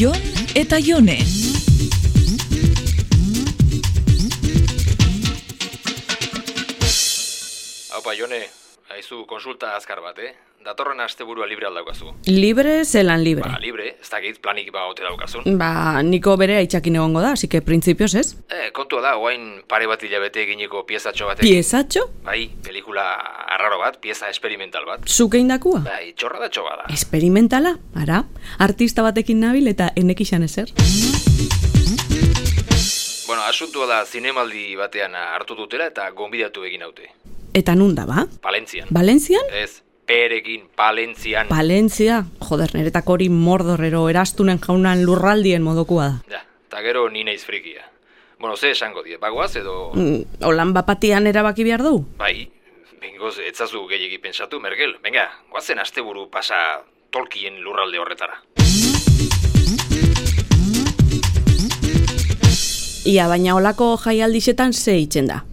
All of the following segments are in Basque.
Jon eta Jone. Haupa, Jone, haizu konsulta azkar bat, eh? Datorren asteburua libre aldaukazu. Libre zelan libre. Ba, libre, ez dakit planik ba ote daukazun. Ba, niko bere aitzakin egongo da, así que printzipioz ez. Eh, kontua da, oain pare bat hilabete eginiko piezatxo batek. Piezatxo? Bai, pelikula arraro bat, pieza esperimental bat. Zuke indakua? Bai, txorradatxo bada. Esperimentala, ara. Artista batekin nabil eta enek izan ezer. Bueno, asuntua da zinemaldi batean hartu dutela eta gonbidatu egin haute. Eta nun da, ba? Palentzian. Valentzian? Ez, perekin, palentzian. Ba. Valentzia, joder, niretako hori mordorrero erastunen jaunan lurraldien modokua da. ja, eta gero ni naiz frikia. Bueno, ze esango die, bagoaz edo... Mm, Olan bapatian erabaki behar du? Bai, bengoz, etzazu gehiegi pentsatu, Mergel. Venga, guazen asteburu pasa tolkien lurralde horretara. Ia, baina olako jaialdizetan ze itzen da.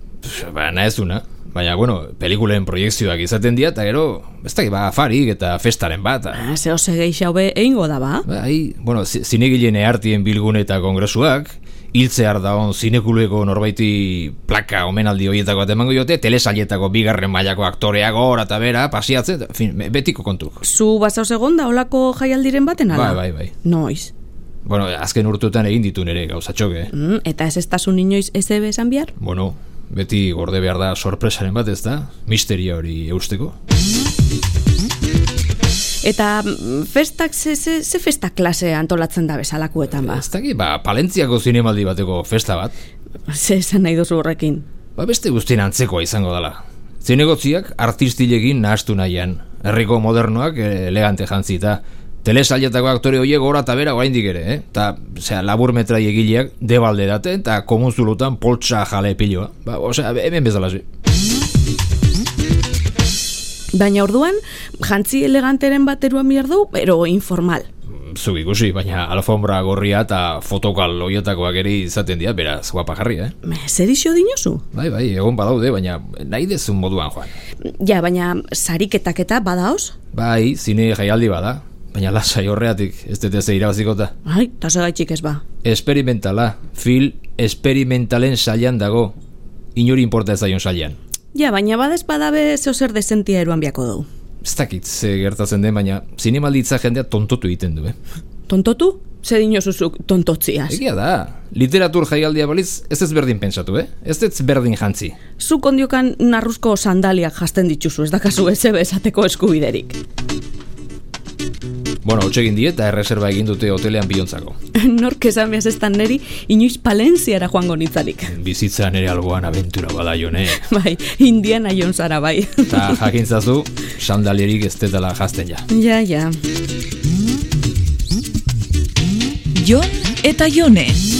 Ba, nahez duna. Baina, bueno, pelikulen proiektzioak izaten dira, eta gero, ez da, ba, afarik eta festaren bat. ta- Ah, Ze oso gehiago be, egingo da, ba? Bai, bueno, zi- zinegileen eartien bilgune eta kongresuak, hiltzear daon zinekuleko norbaiti plaka omenaldi horietako bat emango jote, telesailetako bigarren mailako aktorea gora eta bera, pasiatzen, eta, en fin, be- betiko kontuk. Zu bazauz egon da olako jaialdiren baten ala? Bai, bai, bai. Noiz. Bueno, azken urtutan egin ditu nere gauzatxoke, eh? Mm, eta ez estasun inoiz ez ebe esan behar? Bueno, beti gorde behar da sorpresaren bat ez da, misteria hori eusteko. Eta mm, festak, ze, ze, ze festa klase antolatzen da bezalakuetan, ba? Ez dakit, ba, Palentziako zinemaldi bateko festa bat, Ze esan nahi duzu horrekin? ba beste guztien antzekoa izango dela. Zinegotziak artistilekin nahastu nahian, herriko modernoak eh, elegante jantzita, telesailetako aktore horiek gora eta bera oraindik ere, eh? Ta, osea, labur metrai egileak debalde date eta komunzulutan poltsa jale piloa. Ba, osea, hemen bezalasi. Baina orduan, jantzi eleganteren bateruan behar du, pero informal. Zuk ikusi, baina alfombra gorria eta fotokal hoietakoak ere izaten dira, beraz, guapa jarri, eh? Me, Zer iso dinozu? Bai, bai, egon badaude, baina nahi dezun moduan joan. Ja, baina sariketak eta badaoz? Bai, zine jaialdi bada, baina lasai horreatik, ez dut ez irabazikota. Ai, eta segaitxik ez ba. Esperimentala, fil, esperimentalen sailan dago, inori inporta ez zaion sailan. Ja, baina badez badabe zeo zer desentia eruan biako du. Ez dakit ze gertatzen den, baina zinemalditza jendea tontotu egiten du, eh? Tontotu? Zer dinozuzuk tontotziaz? Egia da, literatur jaialdia baliz, ez ez berdin pentsatu, eh? Ez ez berdin jantzi. Zuk ondiokan narruzko sandaliak jasten dituzu, ez dakazu ez ebe esateko eskubiderik. Bueno, hotxegin die eta erreserba egin dute hotelean bihontzako. Nork esan behaz ez neri, inoiz palentziara joango nitzarik. Bizitza nere algoan abentura bada jone. Bai, indiana jon zara bai. Eta jakintzazu, sandalierik ez tetala jazten ja. ja, ja. Jon eta Jone.